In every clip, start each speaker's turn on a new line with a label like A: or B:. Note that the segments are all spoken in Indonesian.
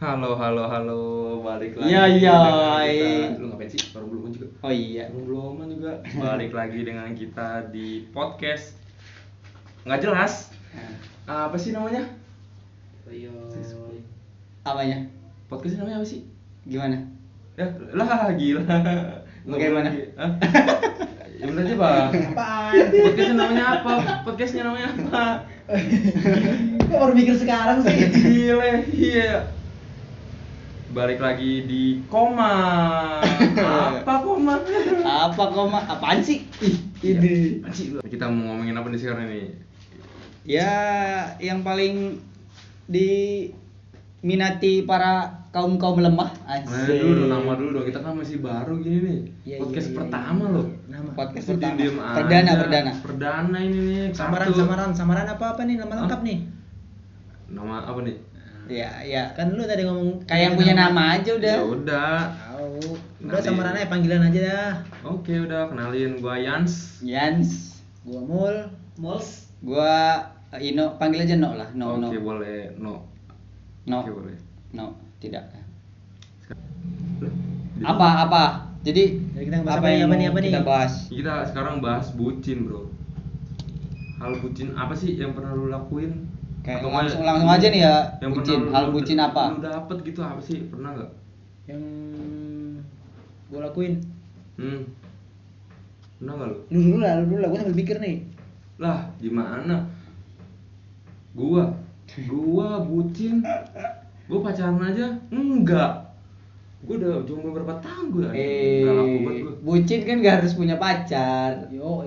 A: halo halo halo balik lagi.
B: Ya, ya,
A: dengan
B: hai.
A: kita. Lu ngapain sih? Baru belum juga.
B: Oh iya.
A: Baru beluman juga. Balik lagi dengan kita di podcast nggak jelas. Apa sih namanya?
B: Apanya?
A: Podcastnya namanya apa sih?
B: Gimana?
A: Ya, lah gila.
B: Bagaimana?
A: Hah? Ya bener aja, Bang.
C: Apaan?
A: Podcastnya namanya apa? Podcastnya namanya apa?
C: Kok baru mikir sekarang sih?
A: Gile, iya. Balik lagi di koma. Apa koma?
B: Apa koma? Apaan sih? Ih, ini.
A: Anjing, lu. Kita mau ngomongin apa nih sekarang ini?
B: Ya, yang paling diminati para kaum kaum lemah.
A: Nah, dulu dong, nama dulu dong. Kita kan masih baru gini nih.
B: Iya,
A: Podcast
B: iya, iya,
A: pertama
B: iya.
A: loh.
C: Nama.
B: Podcast
A: Masih
B: pertama.
A: diem-diem aja.
B: Perdana, perdana.
A: Perdana ini nih.
C: Samaran,
A: kartu.
C: samaran, samaran apa apa nih? Nama lengkap
A: Hah?
C: nih.
A: Nama apa nih?
B: Ya, ya.
C: Kan lu tadi ngomong
B: Kayak yang punya nama aja udah.
A: Ya udah.
C: Tahu. Udah
A: Nanti.
C: samaran aja panggilan aja dah.
A: Oke, udah kenalin gua Yans.
B: Yans,
C: Gua Mul, Mols.
B: gua eh, Ino, panggil aja No lah. No, no.
A: Oke, boleh. No.
B: No.
A: Oke, boleh.
B: No, tidak.
A: Lah, di-
B: Apa apa? Jadi,
C: Jadi kita ngebahas apa nih, apa nih, apa
B: kita
C: nih?
B: bahas?
A: Kita sekarang bahas bucin, Bro. Hal bucin apa sih yang pernah lu lakuin?
B: Kayak
A: Atau
B: langsung,
A: nggak-
B: langsung aja nih ya,
A: yang
B: bucin.
A: pernah lu-
B: Hal bucin apa?
A: Lu dapet gitu apa sih? Pernah nggak?
C: Yang gua lakuin.
A: Hmm. Pernah nggak lu?
C: Lu dulu lah, lu dulu lah. Gua sambil mikir nih.
A: lah gimana gua gua bucin gua pacaran aja enggak gua udah jomblo berapa tahun gua
B: Eh,
A: Nggak laku banget gua
B: bucin kan gak harus punya pacar.
C: Yo,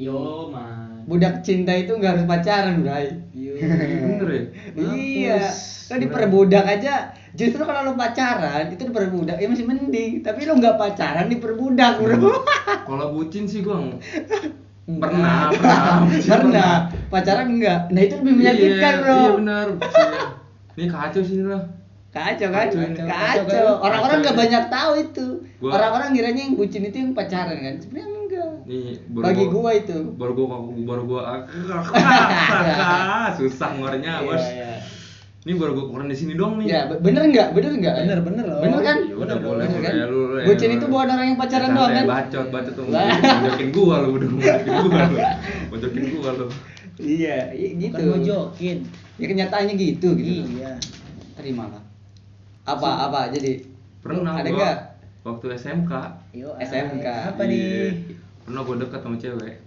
C: yo man.
B: Budak cinta itu gak harus pacaran, Bray.
C: Yo.
A: bener ya
B: Iya,
A: Mampus.
B: lo diperbudak aja. Justru kalau lo pacaran itu diperbudak, ya masih mending. Tapi lo nggak pacaran diperbudak, bro.
C: Iya.
A: kalau bucin sih gua ng-
C: Enggak.
A: pernah pernah bucin
B: Pernah pacaran enggak? Nah itu lebih menyakitkan,
A: Iya,
B: bro.
A: iya bener bucin. ini kacau sih ini lah
B: Kacau kan?
A: Kacau,
B: Kacau.
C: kacau, kacau.
B: Orang-orang
A: Kacau,
B: nggak
A: ya.
B: banyak tahu itu.
A: Gua-
B: Orang-orang ngiranya yang bucin itu yang pacaran kan? Sebenarnya enggak.
A: Nih,
B: Bagi gua itu.
A: baru gua baru gua susah ngornya Ya,
B: Iya,
A: bos
B: iya.
A: ini baru gua keluar di sini dong nih
B: Ya, be- bener nggak? Bener nggak?
C: Iya. Bener, bener loh. Iya,
B: Bener kan?
A: Ya udah boleh
B: Bener
A: boleh
B: kan?
A: lu. lu ya,
B: Bucin
A: lu.
B: itu bukan orang yang pacaran
A: Bercanda,
B: doang kan?
A: Bacot, bacot tuh.
B: Lah.
A: Mojokin gua lu udah mojokin gua lu. Mojokin gua lu.
B: Iya, i- gitu.
C: Bukan mojokin.
B: Ya kenyataannya gitu gitu. loh.
C: Iya.
B: Terimalah. Apa apa jadi
A: Pernah
B: ada
A: gua
B: nggak?
A: waktu SMK.
C: Yo, eh,
B: SMK.
C: Apa
A: iya,
C: nih?
A: Pernah gua deket sama cewek.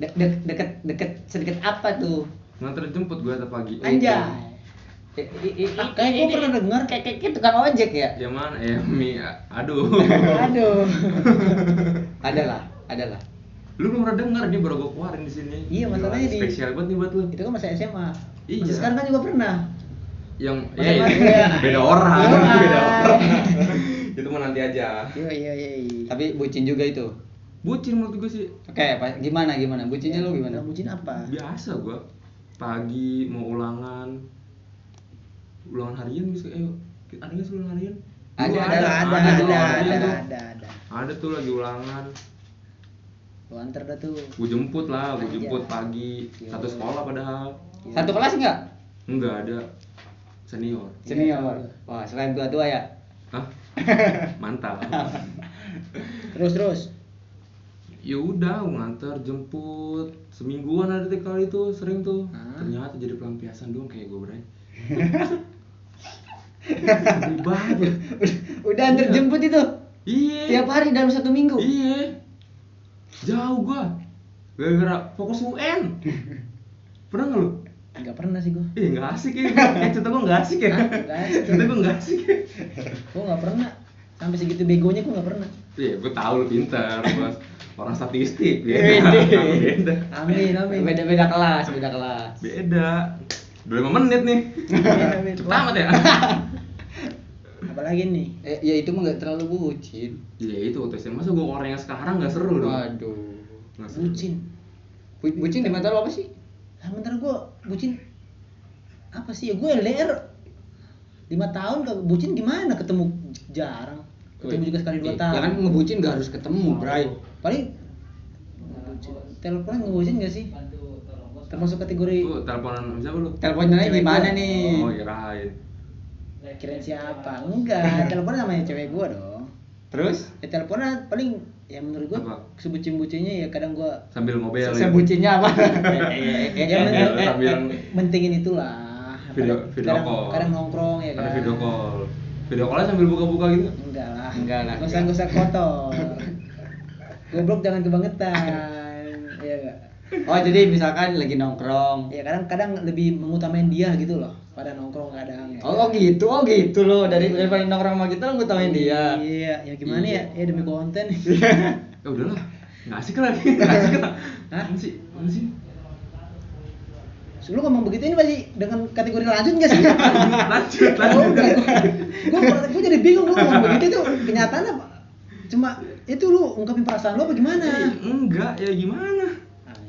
B: De- de- deket deket sedikit apa tuh?
A: Nganter jemput gua tiap pagi.
B: Anjay. I- i- i-
C: Iya, Ah, kayak gua
B: ini-
C: pernah dengar.
B: kayak kayak kayak tukang ojek ya?
A: Ya mana? Eh, Mi, a- aduh.
C: Aduh.
B: Adalah, adalah.
A: lu belum pernah denger nih baru gua keluarin di sini.
C: Iya, masalahnya di-
A: spesial banget nih buat lu.
C: Itu kan masa SMA.
A: Iya.
C: Masa sekarang kan juga pernah.
A: Yang
C: Masa
A: eh,
C: kemarin ya?
A: beda orang,
C: Yoi.
A: beda orang. Itu mah nanti aja.
C: Yo yo yo.
B: Tapi bucin juga itu.
A: Bucin menurut gua sih
B: Oke, apa gimana gimana? Bucinnya lu gimana?
C: Bucin apa?
A: biasa gua pagi mau ulangan ulangan harian bisa eh ada nggak sih ulangan harian
B: Ada,
A: Dulu
C: ada, ada,
A: ada,
C: ada,
A: ulangan harian
C: ada,
A: tuh.
C: ada, ada.
A: Ada tuh lagi ulangan
C: Lu antar dah tuh.
A: gua jemput lah gua
C: Iya.
A: jemput pagi satu sekolah padahal
B: Satu kelas enggak?
A: nggak ada senior
C: Iya.
B: Senior. Wah, selain tua-tua ya.
A: Hah? mantap
C: Terus terus.
A: ya udah gua nganter jemput semingguan ada tuh kali itu sering tuh
C: Hah?
A: ternyata jadi pelampiasan doang kayak gua berani Sedih banget ya.
B: Udah antar jemput itu
A: iya
B: tiap hari dalam satu minggu.
A: Iya. Jauh gua. Gara-gara fokus UN. Pernah nggak lu?
C: Enggak pernah sih gua.
A: Ih, nggak asik ya. Eh, cerita gua nggak asik ya.
C: Nggak asik.
A: Cerita gua nggak asik ya.
C: Gua enggak pernah. Sampai segitu begonya gua enggak pernah.
A: Iya, gua tahu lu pintar, Bos. Orang statistik,
B: Iya,
A: beda.
B: iya.
A: beda.
C: Amin, amin.
B: Beda-beda kelas, beda kelas.
A: Beda. Udah lima menit nih.
C: Amin, amin.
A: Cepet
C: Wah,
A: amat ya.
C: Apalagi nih?
B: Eh, ya itu mah nggak terlalu bucin.
A: Iya, itu waktu SMA. Masa gua orang yang sekarang nggak seru dong.
B: Waduh.
A: Nggak seru.
C: Bucin.
B: Bu- Bucin di mata lo apa sih?
C: Lah bentar gua bucin apa sih ya gue LDR 5 tahun kagak bucin gimana ketemu jarang ketemu juga sekali
B: Eh,
C: dua tahun Oh.
B: Ya kan ngebucin nggak harus ketemu, Bray.
C: paling teleponan ngebosin gak sih termasuk kategori
A: Lu Oh, iya, teleponan sama siapa lu?
B: Teleponnya
C: Cewek iya.
B: gimana
C: gua.
B: nih?
A: Oh, kirain.
C: kirain siapa enggak teleponan namanya cewek gua dong
B: Terus?
C: ya teleponan paling ya menurut gua
A: Apa?
C: sebucin-bucinnya ya kadang gua
A: sambil
C: Iya,
A: ngobel
B: Se- Sebucinnya apa?
C: ya, men-
A: eh,
C: eh,
A: sambil
C: eh, mentingin itulah
A: Video-
C: Kadang-
A: video
C: kadang,
A: call.
C: kadang nongkrong ya
A: karena
C: kan
A: video call video callnya sambil buka-buka gitu
C: enggak lah
B: Enggak lah,
C: gak usah
B: enggak.
C: gak usah kotor goblok jangan kebangetan ya enggak
B: Oh jadi misalkan lagi nongkrong.
C: ya kadang kadang lebih mengutamain dia gitu loh pada nongkrong kadang ya.
B: Oh, oh gitu, oh gitu loh. Dari daripada nongkrong sama kita lo ngutamain dia.
C: iya ya gimana
B: Iya.
C: ya ya demi konten
A: ya udahlah nggak asik lagi nggak asik lah
C: Hah?
A: Apaan sih Apaan sih
C: Sebelum ngomong begitu ini masih dengan kategori lanjut nggak sih?
B: Iya.
A: lanjut
C: Oh,
A: lanjut
C: enggak. Gua gua jadi bingung lu ngomong begitu tuh kenyataan apa? Cuma itu lu ungkapin perasaan lu apa gimana?
B: Iya.
C: Nah,
A: Eh, enggak ya gimana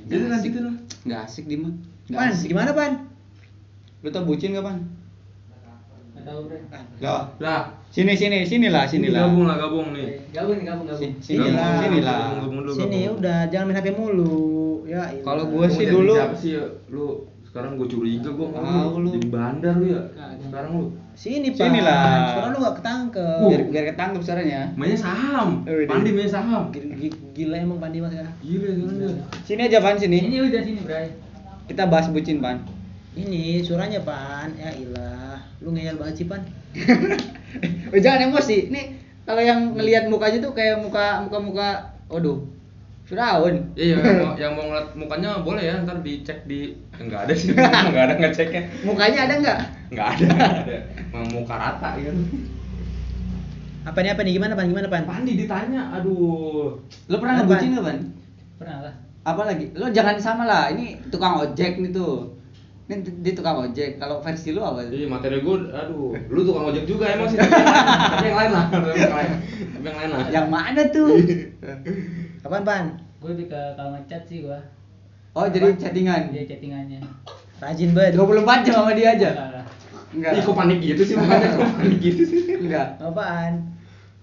A: jadi lanjutin lah
B: Nggak asik Dima. Nggak
C: Pan,
B: asik.
C: gimana Pan?
B: Lu tau bucin gak pan?
C: Ah,
B: Loh.
A: lah
B: Sini sini sini lah sini lah.
A: gabung lah gabung nih
B: Si- Sini
C: Sini
B: lah
C: lah.
B: sini lah.
A: Gabung dulu,
C: Sini
A: gabung.
C: udah jangan main HP mulu. Ya. ilah.
B: Kalau gua
A: Lu
B: sih
A: jadi
B: dulu.
A: siapa sih ya? lu sekarang gue curiga gue
B: Tahu lu.
A: jadi bandar lu ya sekarang lu
C: sini Pan.
B: Sini lah. Uh.
C: Suara lu gak ketangkep.
B: Biar biar ketangkep suaranya.
A: mainnya saham
B: Eh, udah.
A: Pandi mainnya saham
C: Gila, gila emang Pandi mas ya.
A: gila sekarang dia
B: Sini aja pan sini.
C: udah sini Bray.
B: Kita bahas bucin pan.
C: Ini suaranya Pan. Ya ilah. Lu ngeyel banget sih Pan.
B: Eh, jangan emosi. Nih kalau yang ngelihat mukanya tuh kayak muka muka muka. Waduh. Firaun.
A: Iya, yang mau, yang mau ngeliat mukanya boleh ya, ntar dicek di enggak ada sih, enggak ada ngeceknya,
B: Mukanya ada nggak?
A: enggak ada, nggak ada, Emang muka rata gitu.
C: Apa nih apa nih gimana Pan gimana Pan?
A: Pandi ditanya, aduh,
B: Lo pernah
C: Apaan?
B: ngebucin nggak pan?
C: Pernah lah.
B: Apalagi? Lo jangan sama lah. Ini tukang ojek nih tuh. Ini t- dia tukang ojek. Kalau versi lo apa?
A: jadi materi gue, aduh, lu tukang ojek juga emang sih, tapi yang lain lah, tapi yang lain, tapi yang lain lah.
B: Yang mana tuh?
C: Kapan Pan?
D: gue lebih ke kalau ngechat sih gue
B: Oh jadi chattingan. Iya.
D: dia chattingannya
C: Rajin banget.
B: 24 jam sama dia aja.
D: Enggak lah.
B: Enggak.
A: Ih, kok panik gitu sih mukanya, kok panik gitu sih.
B: Enggak.
C: Apaan?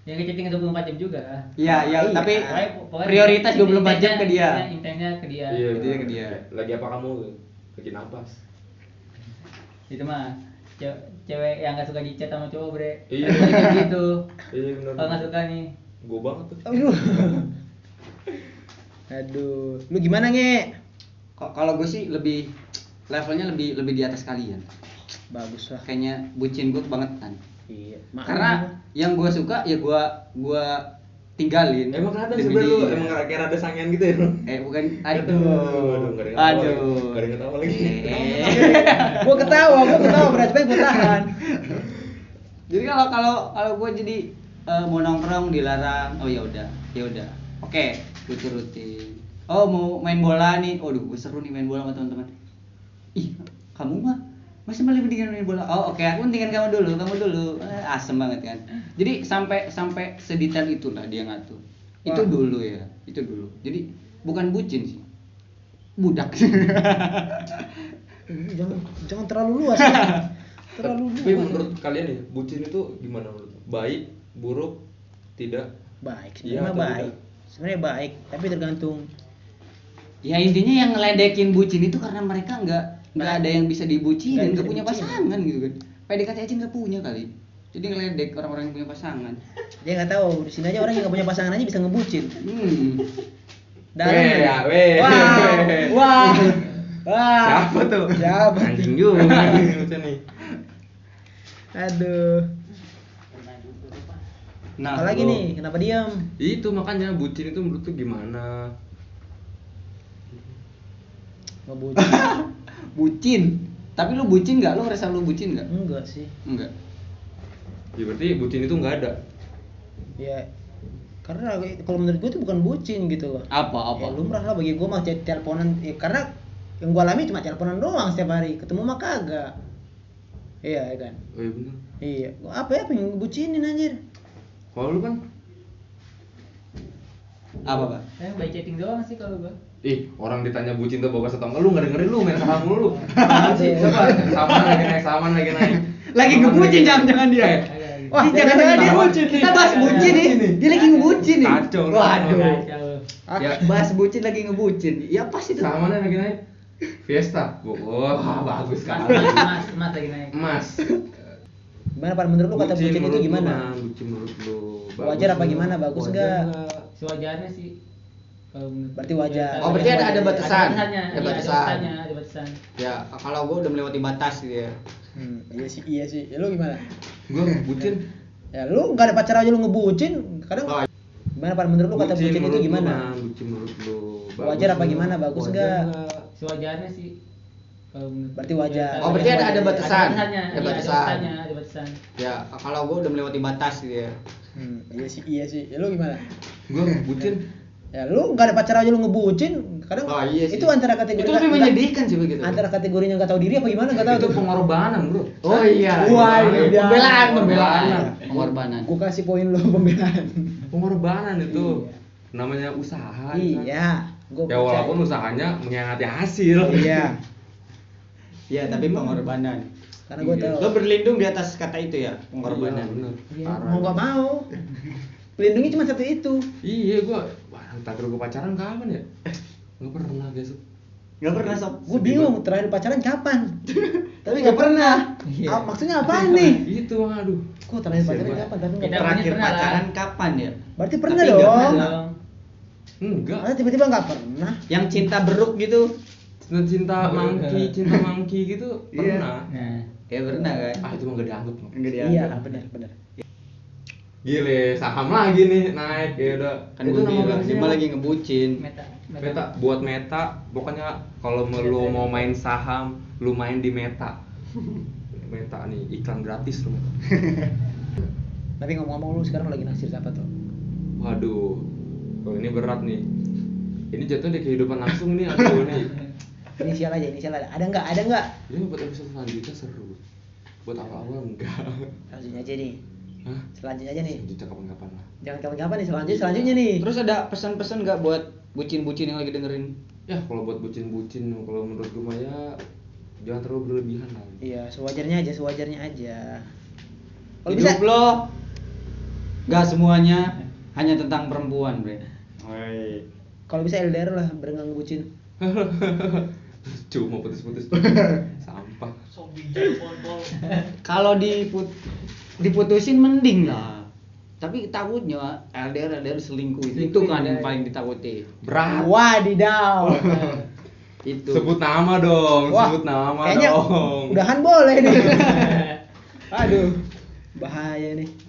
D: ya dia chatting 24 jam juga
B: Iya, iya,
C: Iya.
B: tapi
D: Pokoknya- pokoknya
B: prioritas
D: intinya-
B: 24 jam ke dia.
D: intinya- Iya, intinya ke dia
A: Iya,
B: Dia ke dia.
A: Lagi apa kamu? Lagi napas.
D: itu mah ce- cewek yang gak suka di chat sama cowok bre
A: Iya.
D: Kayak gitu
A: Iya
D: kalau gak
A: benar.
D: suka nih
A: Gue banget tuh.
C: Aduh. Aduh. Lu gimana nge?
B: Kok kalau gue sih lebih levelnya lebih lebih di atas kalian.
C: Bagus lah.
B: Kayaknya bucin gue kebangetan.
C: Iya.
B: Karena yang gue suka ya gue gue tinggalin.
A: Emang kelihatan
B: demi
A: sebenernya lu
B: dia.
A: emang kayak ada sangean gitu ya?
B: eh bukan aduh.
A: Aduh, nggak ada yang ketawa lagi.
B: Aduh.
A: Nggak ada yang ketawa lagi.
B: Eh.
C: gua ketawa, gua ketawa berarti gue tahan.
B: jadi kalau kalau kalau gue jadi eh, mau nongkrong dilarang oh ya udah ya udah oke gue turutin oh mau main bola nih waduh gue seru nih main bola sama teman-teman ih kamu mah masih malah mendingan main bola oh oke aku mendingan kamu dulu kamu dulu Eh, asem banget kan jadi sampai sampai sedetail itulah dia ngatur itu
C: Wah.
B: dulu ya itu dulu jadi bukan bucin sih budak
C: Jangan jangan terlalu luas. terlalu
A: Tapi
C: luas.
A: menurut kalian nih, bucin itu gimana menurut? lu? Baik, buruk, tidak?
C: Baik,
A: Iya
C: sebenarnya
A: atau
C: baik. Sebenarnya baik, tapi tergantung
B: ya intinya yang ngeledekin bucin itu karena mereka nggak nggak ada yang bisa dibucin dan
C: Nggak bisa
B: nggak punya
C: dibucin.
B: pasangan gitu kan PDKT aja nggak punya kali jadi ngeledek orang-orang yang punya pasangan
C: dia nggak tahu di sini aja orang yang nggak punya pasangan aja bisa ngebucin
B: hmm
C: dalam
A: Weh,
C: ya.
A: ya, weh.
C: wah
A: Weh.
C: wah wah
A: Siapa tuh?
C: Ah. siapa
A: Anjing juga nih, maksudnya nih.
C: aduh
B: nah
C: apalagi
B: kalau-
C: nih kenapa diam
A: Itu makanya bucin itu menurut tuh gimana?
C: ngebucin
B: bucin tapi lu bucin nggak lu ngerasa lu bucin nggak
C: enggak sih
B: nggak
A: Ya berarti bucin itu nggak ada.
C: ya karena kalau menurut gue itu bukan bucin gitu loh
B: apa apa
C: ya, lumrah lah bagi gue mah chat teleponan ya, karena yang gue alami cuma teleponan doang setiap hari ketemu mah kagak iya ya kan
A: Oh iya bener.
C: iya Gua apa ya pengen bucinin anjir
A: Kalau lu kan?
B: apa pak
D: eh by chatting doang sih kalau gue
A: Ih, orang ditanya bucin tuh bawa atau enggak, lu nggak dengerin lu main saham mulu lu. Apaan sih? Coba saman lagi naik, saman lagi naik.
B: lagi
A: Saman
B: ngebucin jangan jangan dia
A: Eh,
B: Wah, jangan-jangan dia bucin. Kita bahas bucin nih. Dia lagi ngebucin nih.
A: Kacau lu.
B: Waduh.
D: kacau
B: Ah,
A: Ya.
B: bahas bucin lagi ngebucin. Ya pas itu.
A: Saman lagi naik. Fiesta. Wah, bagus
D: mas
A: kan.
D: mas mas, mas lagi naik
A: Emas.
C: Gimana Pan menurut lu kata bucin, itu
A: menurut lu,
C: gimana?
A: Man. bucin menurut lu
C: Wajar apa gimana? Bagus nggak?
D: sewajarnya sih kalau menurut
C: Berarti
D: gue.
C: wajar.
D: Kalau
B: Oh, berarti
D: gue
B: ada- ada
D: wajar.
B: batasan.
D: Ada batasannya.
B: Ada
D: Iya,
B: batasan.
D: Ada batasannya, ada batasan.
B: ya kalau gue udah melewati batas gitu ya
C: Hmm, iya sih, iya sih. Ya, lu gimana?
A: gue bucin
C: Ya lu nggak ada pacar aja lu ngebucin, kadang
B: Oh.
C: gimana Pan menurut lu kata bucin,
A: menurut
C: itu
A: lu,
C: gimana?
A: Man. bucin menurut lu
C: Wajar apa gimana? Bagus
A: Wajar
C: nggak?
B: Eh,
D: Sewajarnya sih kalau menurut
C: Berarti
D: gue.
C: wajar.
B: Oh, berarti ada- ada batasan.
D: Ada
B: Ada batasan.
D: batasannya. Iya, Ada batasannya, ada batasan.
B: ya kalau gue udah melewati batas gitu ya
C: Hmm, iya sih, iya sih. Ya, lu gimana?
A: gue bucin
C: Ya lu nggak ada pacar aja lu ngebucin, kadang
B: Oh, iya sih.
C: itu antara
B: itu
C: kategori
B: lebih
C: nggak-
B: menyedihkan sih begitu
C: antara kategorinya nggak tahu diri apa gimana nggak tahu
A: itu
C: tuh.
A: pengorbanan bro
B: oh iya
C: Wah,
B: Iya.
C: iya.
B: pembelaan pembelaan
A: Pembelaan.
B: pengorbanan
C: Gue kasih poin lu pembelaan.
A: pengorbanan itu namanya usaha ya kan?
C: iya, gue
A: ya walaupun usahanya mengkhianati hasil
C: iya,
B: ya tapi pengorbanan
C: karena gue tahu.
B: lo berlindung di atas kata itu ya
A: pengorbanan
B: pengorbanan
A: bener
D: Iya.
A: Parah.
C: mau nggak mau pelindungnya cuma satu itu
A: iya gue terakhir gue pacaran kapan ya nggak pernah guys
B: nggak pernah sob
C: gue bingung terakhir pacaran kapan
B: tapi nggak pernah
D: Iya.
C: Ah, maksudnya apa nih
A: itu gitu, aduh
C: kok terakhir pacaran
A: Siapa?
C: kapan tapi nggak
D: Tidak
C: pernah
B: terakhir
D: pernah lah.
B: pacaran kapan ya
C: berarti pernah
B: Tapi nggak
C: dong
B: pernah.
D: Dong.
A: enggak
C: Masa tiba-tiba nggak pernah
B: yang cinta beruk gitu
A: cinta Nah, cinta mangki cinta mangki gitu
B: Iya.
A: pernah
D: Nah,
B: ya pernah kan
A: ah itu mah gak dianggap Bang.
B: Nggak dianggap.
C: iya benar benar
A: gile saham lagi nih naik ya udah
B: kan gue bilang
A: organisasinya
B: dia
A: apa?
B: mah lagi ngebucin
D: meta.
A: meta buat meta pokoknya kalau me- lu mau main saham lu main di meta meta nih iklan gratis lu
C: tapi ngomong-ngomong lu sekarang lagi naksir siapa tuh
A: waduh kalau ini berat nih ini jatuh di kehidupan langsung nih aduh nih
C: inisial aja inisial aja ada nggak ada nggak
A: ini buat episode selanjutnya seru buat awal-awal enggak
C: selanjutnya aja nih
A: Hah?
C: selanjutnya aja nih
A: Selanjutnya kapan-kapan lah
C: jangan kapan-kapan nih
A: Iya.
C: selanjutnya selanjutnya nih
B: terus ada pesan-pesan nggak buat bucin-bucin yang lagi dengerin
A: ya kalau buat bucin-bucin kalau menurut gue mah ya jangan terlalu berlebihan lah
C: iya sewajarnya aja sewajarnya aja kalau bisa
B: Hidup lo nggak semuanya hanya tentang perempuan bre
C: kalau bisa LDR lah berengang bucin
A: cuma putus-putus sampah
B: kalau diput diputusin mending lah tapi takutnya LDR LDR selingkuh itu
D: Selingkuh,
B: kan yang
D: ya.
B: paling ditakuti
A: berat
C: wadidaw
B: itu
A: sebut nama dong
C: Wah,
A: sebut nama
C: kayaknya
A: dong
C: udahan boleh nih aduh bahaya nih